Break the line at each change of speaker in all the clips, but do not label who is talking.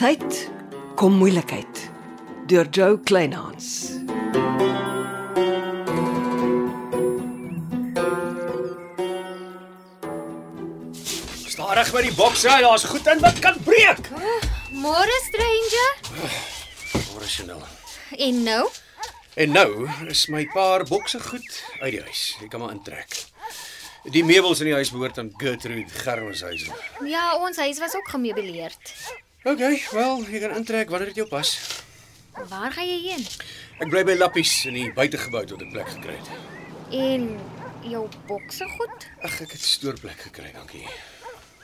tyd kom moeilikheid deur Joe Kleinhans.
Stadig met die bokse, ja, daar's goed in wat kan breek.
Môre stranger.
Môre Chanel.
En nou?
En nou is my paar bokse goed uit die huis. Jy kan maar intrek. Die meubels in die huis behoort aan Gertrude Gerwenshuizen.
Ja, ons huis was ook gemeubileer.
OK, wel, jy kan intrek wanneer dit jou pas.
Waar gaan jy heen?
Ek bly by Lappies in die buitegebou tot 'n plek gekry het.
En jou bokse goed?
Ag, ek het 'n stoorplek gekry, dankie.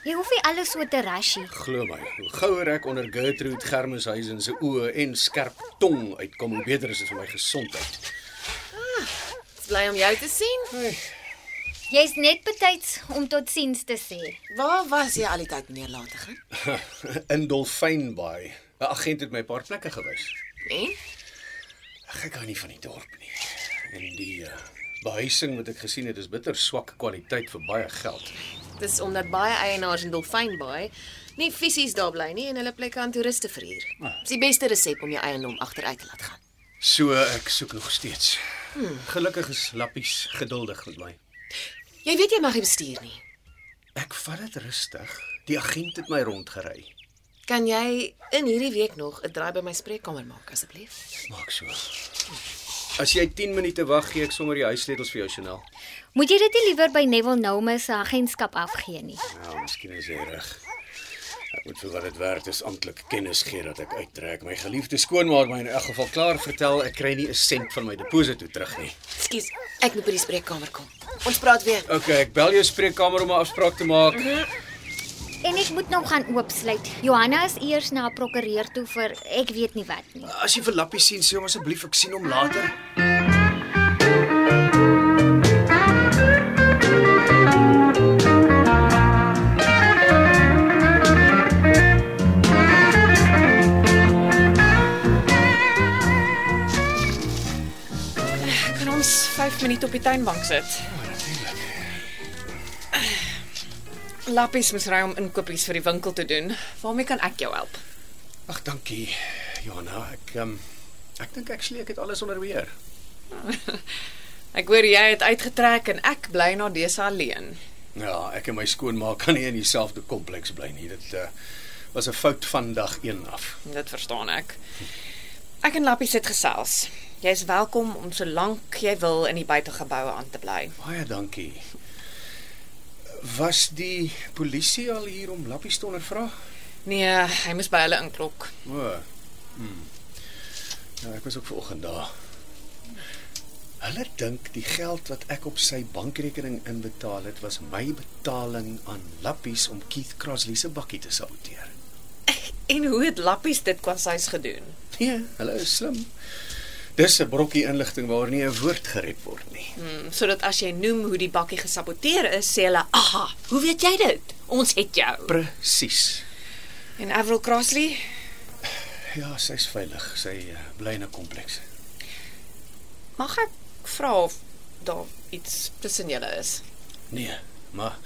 Jy hoef nie alles so te rushie.
Glo my, hoe gouer ek onder Gertrude Gerwenshuizen se oë en skerp tong uitkom, hoe beter is dit vir my gesondheid.
Dis bly om jou te sien.
Jy's net betyds om totsiens te sê.
Waar was jy al die tyd, meneer Latigan?
in Dolfynbaai. 'n Agent het my 'n paar plekke gewys.
En
Ag, ek hou nie van die dorp nie. En die uh, behuising wat ek gesien het is bitter swak kwaliteit vir baie geld.
dis omdat baie eienaars in Dolfynbaai nie fisies daar bly nie en hulle plekke aan toeriste verhuur.
Ah.
Dis die beste resep om jou eiendom agteruit te laat gaan.
So ek soek nog steeds. Hmm. Gelukkig is Lappies geduldig met my.
Jy weet jy mag nie bestuur nie.
Ek vat dit rustig. Die agent het my rondgery.
Kan jy in hierdie week nog 'n draai by my spreekkamer maak asseblief?
Maak so. As jy 10 minute wag, gee ek sommer die huissleutels vir jou, Chanel.
Moet jy dit nie liewer by Neville Noume se agentskap afgee nie.
Nou, miskien is jy reg. Ek moet vir wat dit werd is amptelik kennis gee dat ek uittrek. My geliefde skoonmaak my in elk geval klaar vertel ek kry nie 'n sent van my deposito terug nie.
Ekskuus, ek moet by die spreekkamer kom. Ons praat weer.
OK, ek bel jou spreekkamer om 'n afspraak te maak.
En ek moet nou gaan oopsluit. Johanna is eers na 'n prokureur toe vir ek weet nie wat nie.
As jy vir Lappie sien, sê hom asseblief ek sien hom later.
Kan ons 5 minute op die tuinbank sit?
Oh,
Lappies moet ry om inkopies vir die winkel te doen. Waarmee kan ek jou help?
Ag, dankie. Johanna, ek ehm um, ek dink actually ek het alles onder beheer.
Ek hoor jy het uitgetrek en ek bly na dese alleen.
Ja, ek en my skoonmaak kan nie in dieselfde kompleks bly nie. Dit uh, was 'n fout van dag 1 af.
Dit verstaan ek. Ek en Lappies het gesels. Jy is welkom om solank jy wil in die buitegeboue aan te bly.
Baie dankie. Was die polisie al hier om Lappie te ondervra?
Nee, hy moes by hulle inklok.
O. Hmm. Nou, ek was ook vanoggend daar. Hulle dink die geld wat ek op sy bankrekening inbetaal het, was my betaling aan Lappies om Keith Crossley se bakkie te saboteer.
En hoe het Lappies dit kwanshuis gedoen?
Nee, hulle is slim. Dis 'n brokkie inligting waar nie 'n woord gered word nie.
Hmm, sodat as jy noem hoe die bakkie gesaboteer is, sê hulle, "Aha, hoe weet jy dit? Ons het jou."
Presies.
En Avril Crossley,
Ja, sy's veilig. Sy uh, bly in 'n kompleks.
mag ek vra of daar iets tussen julle is?
Nee, maar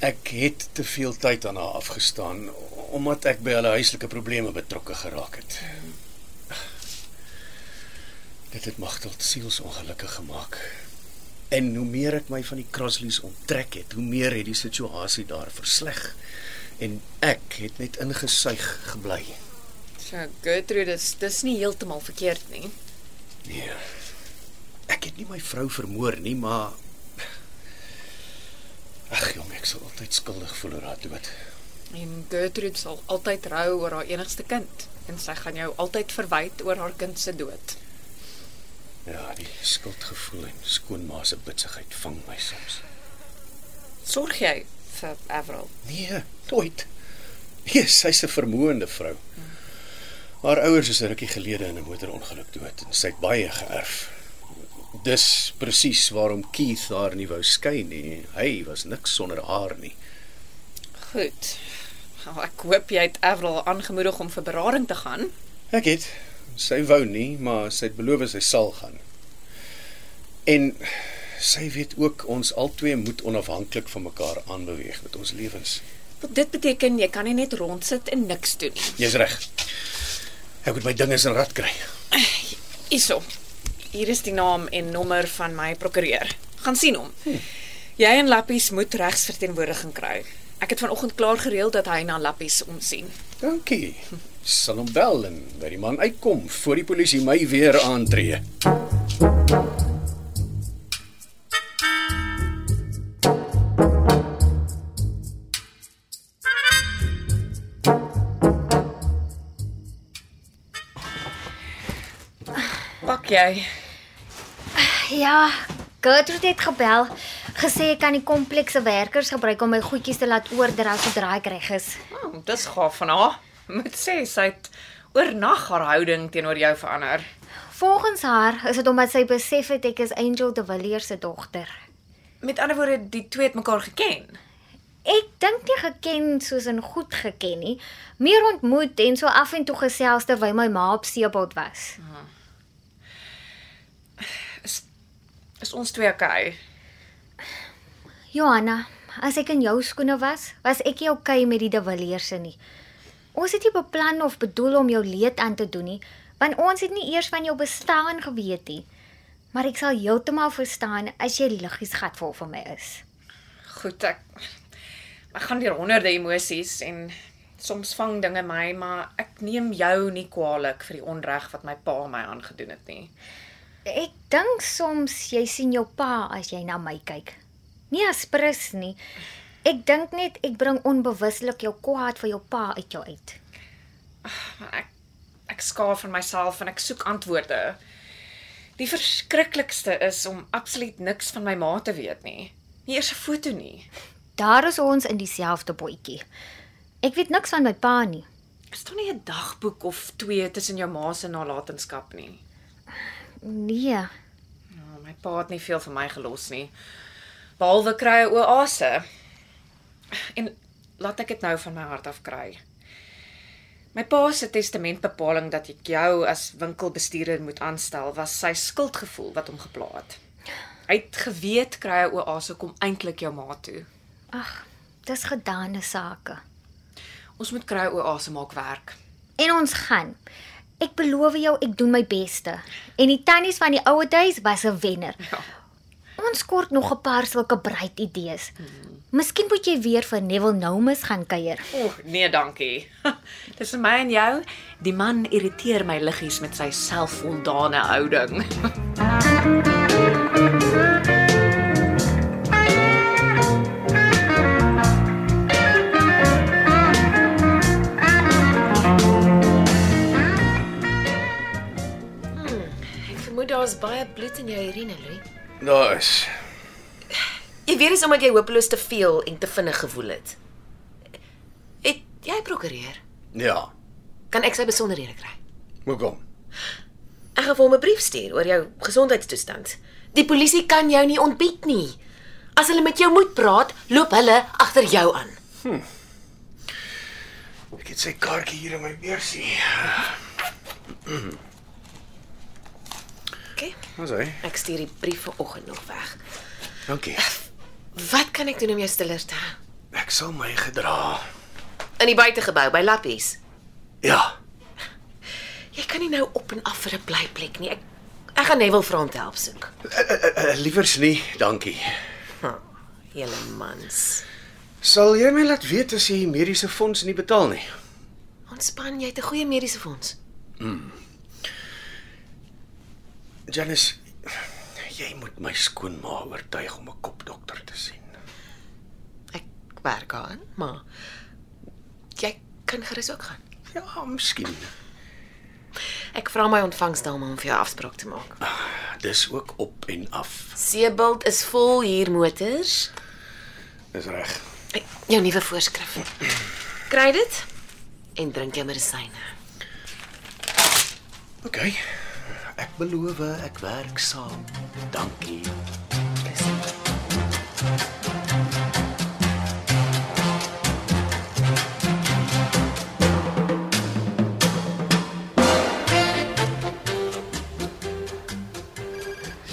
ek het te veel tyd aan haar afgestaan omdat ek by hulle huislike probleme betrokke geraak het. Dit het Magdalt sielsongelukkig gemaak. En hoe meer ek my van die Crosleys onttrek het, hoe meer het die situasie daar versleg. En ek het net ingesuig gebly.
So Gertrude, dis dis nie heeltemal verkeerd nie.
Nee. Ek het nie my vrou vermoor nie, maar Ag jong, ek sal altyd skuldig voel oor haar dood.
En Gertrude sal altyd rou oor haar enigste kind en sy gaan jou altyd verwyd oor haar kind se dood.
Ja, die skuldgevoel en skoonma se bitsigheid vang my soms.
Sorg jy vir Avril?
Nee, nooit. Nee, sy's 'n vermoënde vrou. Haar ouers is 'n rukkie gelede in 'n motorongeluk dood en sy het baie geërf. Dis presies waarom Keith haar nie wou skei nie. Hy was niks sonder haar nie.
Goed. Nou, ek hoop jy het Avril aangemoedig om vir berading te gaan.
Ek het sy wou nie, maar sy het beloof sy sal gaan. En sy weet ook ons albei moet onafhanklik van mekaar aanbeweeg met ons lewens.
Dit beteken jy kan nie net rondsit en niks doen nie.
Jy's reg. Ek moet my dinge in rad kry.
Hierso. Hier is die naam en nommer van my prokureur. Gaan sien hom. Jy en Lappies moet regsverteenwoordiging kry. Ek het vanoggend klaar gereël dat hy na Lappies omsien.
Dankie. Sal hom bel en dat die man uitkom voor die polisie my weer aantree.
Pak jy.
Ja, Gertrude het gebel. Gesê ek kan die komplekse werkers gebruik om my goedjies te laat oordra sodra ek reg is.
Oh, dis gaaf van haar. Moet sê sy het oornag haar houding teenoor jou verander.
Volgens haar is dit omdat sy besef het ek is Angel de Villiers se dogter.
Met ander woorde, die twee het mekaar geken.
Ek dink nie geken soos in goed geken nie, meer ontmoet en so af en toe gesels terwyl my ma op seebad was.
Ah. Is ons twee okay?
Johanna, as ek in jou skoene was, was ek nie okay met die De Villiers se nie. Ons het nie beplan of bedoel om jou leed aan te doen nie, want ons het nie eers van jou bestaan geweet nie. Maar ek sal heeltemal verstaan as jy liggies gatvol vir my is.
Goed, ek ek gaan deur honderde emosies en soms vang dinge my, maar ek neem jou nie kwaadlik vir die onreg wat my pa my aangedoen het nie.
Ek dink soms jy sien jou pa as jy na my kyk. Nie as prins nie. Ek dink net ek bring onbewuslik jou kwaad vir jou pa uit jou uit.
Maar ek ek skaaf van myself en ek soek antwoorde. Die verskriklikste is om absoluut niks van my ma te weet nie. Nie eers 'n foto nie.
Daar is ons in dieselfde bootjie. Ek weet niks van my pa nie.
Is daar nie 'n dagboek of twee tussen jou ma se nalatenskap nie?
Nee.
Ja, my pa het nie veel vir my gelos nie. Behalwe kry 'n oase. En laat ek dit nou van my hart af kry. My pa se testamentbepaling dat ek jou as winkelbestuurder moet aanstel was sy skuldgevoel wat hom gepla het. Hy het geweet kry 'n oase kom eintlik jou ma toe.
Ag, dis gedane sake.
Ons moet kry 'n oase maak werk.
En ons gaan. Ek beloof jou ek doen my beste. En die tannies van die ouer huis was 'n wenner.
Ja.
Ons kort nog 'n paar sulke bruid idees. Miskien moet jy weer vir Neville Noumus gaan kuier.
Oeg, nee, dankie. Dis vir my en jou. Die man irriteer my liggies met sy selfvoldane houding.
Ek vermoed daar's baie bloed in jou urine, Louis.
Daar is.
Jy weet dis omdat jy hopeloos te veel en te vinnig gewoel het. Het jy prokureer?
Ja.
Kan ek sy besonderhede kry?
Hoekom?
Ek gaan vir hom 'n brief stuur oor jou gesondheidstoestand. Die polisie kan jou nie ontbied nie. As hulle met jou moet praat, loop hulle agter jou aan.
Ek het sy kaartjie hier in my beursie.
OK.
Ons hy.
Ek stuur die brief vanoggend nog weg.
Dankie.
Wat kan ek doen om jou stiller te hou?
Ek sal my gedra.
In die buitegebou by Lappies.
Ja.
Jy kan nie nou op en af vir 'n blyplek nie. Ek ek gaan Neville vra om te help soek.
Uh, liewers nie, dankie.
Hm, Julle mans.
Sal jy my laat weet as die mediese fonds nie betaal nie?
Ontspan, jy het 'n goeie mediese fonds.
Janice, jy moet my skoonma oortuig om 'n kopdokter te sien.
Ek werk daaraan, maar jy kan gerus ook gaan.
Ja, miskien.
Ek vra my ontvangsdame om vir jou afspraak te maak.
Dis ook op en af.
Seebald is vol hier motors.
Dis reg.
Ek- Jou nuwe voorskrif. Kry dit en drink jou medisyne.
OK. Ek beloof ek werk saam. Dankie.
Dis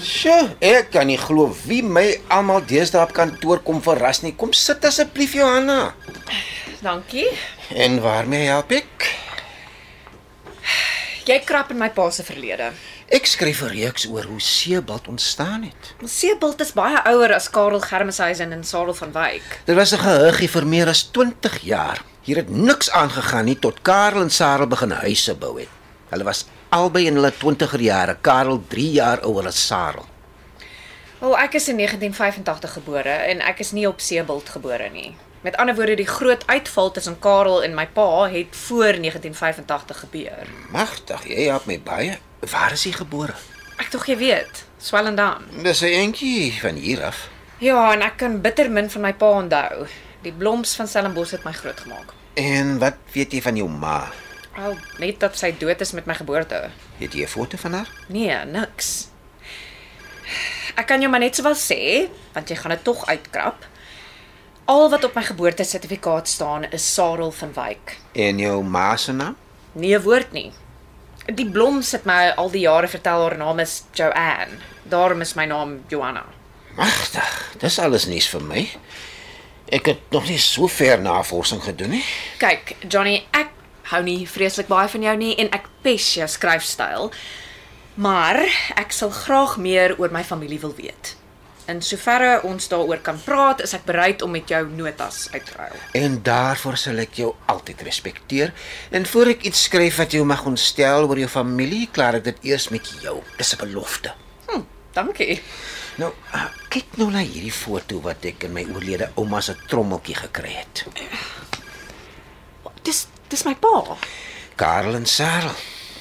Sjoe, ek kan nie glo wie my almal deesdae op kantoor kom verras nie. Kom sit asseblief Johanna.
Dankie.
En waarmee help ek?
Jy krap in my pa se verlede.
Ek skryf 'n reeks oor hoe seebad ontstaan het.
Ons seebult is baie ouer as Karel Germeshuisen en Sadel van Wyk.
Dit was 'n gehuggie vir meer as 20 jaar. Hier het niks aangegaan nie tot Karel en Sarah begin huise bou het. Hulle was albei in hulle 20er jare, Karel 3 jaar ouer as Sarah.
Wel, ek is in 1985 gebore en ek is nie op Seebult gebore nie. Met ander woorde, die groot uitval tussen Karel en my pa het voor 1985 gebeur.
Magtig, jy help my baie. Waar is hy gebore?
Ek tog jy weet, Swellendam.
Dis 'n eentjie van hier af.
Ja, en ek kan bitter min van my pa onthou. Die bloms van Stellenbosch het my grootgemaak.
En wat weet jy van jou ma?
Al net dat sy dood is met my geboorte.
Het jy 'n foto van haar?
Nee, niks. Ek kan jou maar net sowel sê, want jy gaan dit tog uitkrap. Al wat op my geboortesertifikaat staan is Sarel van Wyk.
En jou ma se naam?
Nee woord nie. Die Bloms het my al die jare vertel haar naam is Joanne. Daarom is my naam Joanna.
Magtig, dis alles nuus vir my. Ek het nog nie so ver navorsing gedoen nie.
Kyk, Johnny, ek hou nie vreeslik baie van jou nie en ek pes jou skryfstyl. Maar ek sal graag meer oor my familie wil weet. In soverre ons daaroor kan praat, is ek bereid om met jou notas uit te ruil.
En daarvoor sal ek jou altyd respekteer. En voor ek iets skryf wat jou mag ontstel oor jou familie, klaar ek dit eers met jou. Dis 'n belofte.
Hm, dankie.
Nou, ah, kyk nou na hierdie foto wat ek in my oorlede ouma se trommeltjie gekry het.
Dis dis my pa.
Karel en Sarah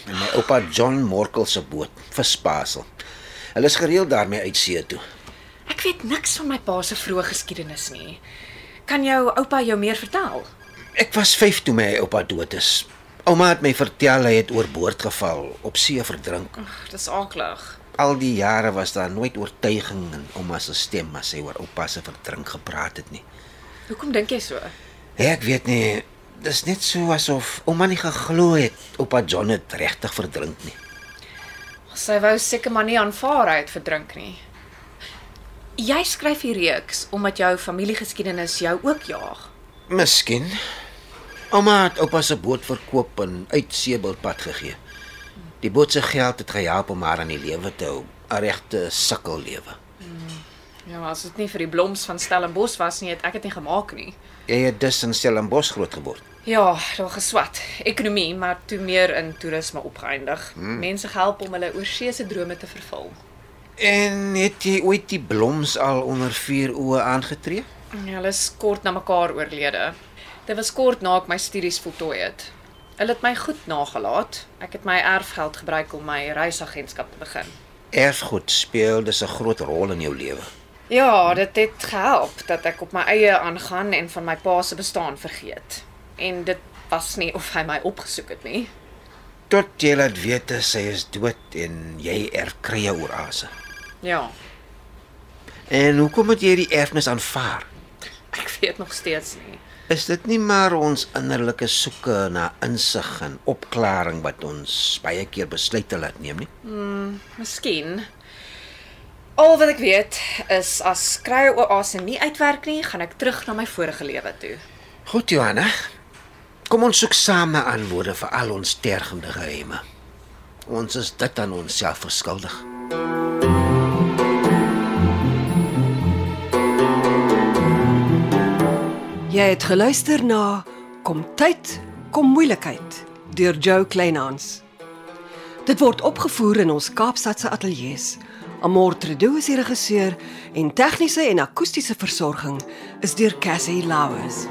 en my oupa John Morkel se boot vir Spasel. Hulle is gereeld daarmee uit see toe.
Ek weet niks van my pa se vroeë geskiedenis nie. Kan jou oupa jou meer vertel?
Ek was 5 toe my oupa dood is. Ouma het my vertel hy het oorboord geval, op see verdrink.
Ag, dis aaklig.
Al die jare was daar nooit oortuiging in ouma se stem as sy oor oupa se verdrink gepraat het nie. Ja,
Hoekom dink jy so?
Ek weet nie, dis net so asof ouma nie geglo het oupa John het regtig verdrink nie.
Sy wou seker maar nie aanvaar hy het verdrink nie. Jy skryf hier reeks omdat jou familiegeskiedenis jou ook jaag.
Miskien. Ouma het oupa se boot verkoop en uit Seebulpad gegee. Die boot se geld het gehelp om haar aan die lewe te hou, 'n regte sukkel lewe.
Ja, maar as dit nie vir die bloms van Stellenbosch was nie, het ek dit nie gemaak nie.
Jy het dus in Stellenbosch groot geword.
Ja, daar geswat. Ekonomie, maar toe meer in toerisme opgeëindig. Hmm. Mense help om hulle oorseese drome te vervul.
En het jy ooit die bloms al onder vier oë aangetree?
Ja, Hulle is kort na mekaar oorlede. Dit was kort na ek my studies voltooi het. Hulle het my goed nagelaat. Ek het my erfgeld gebruik om my reisagentskap te begin.
Erfgoed speel dus 'n groot rol in jou lewe.
Ja, dit het gehelp dat ek op my eie aangaan en van my pa se bestaan vergeet. En dit was nie of hy my opgesoek het nie.
Tot jy laat weet is sy is dood en jy erf krye oor Asa.
Ja,
En hoekom het jy die erfenis aanvaar?
ek weet nog steeds nie.
Is dit nie maar ons innerlike soeke na insig en opklaring wat ons baie keer besluit te laat neem nie?
Miskien. Al wat ek weet is as skrye oase nie uitwerk nie, gaan ek terug na my vorige lewe toe.
Goed Johanna. Kom ons soek saam na antwoorde vir al ons tergende geheime. Ons is dit aan onsself verskuldig.
Jy het geluister na Kom tyd, kom moeilikheid deur Jo Kleinhans. Dit word opgevoer in ons Kaapstadse ateljee se. Amortredo is die regisseur en tegniese en akoestiese versorging is deur Cassie Lauers.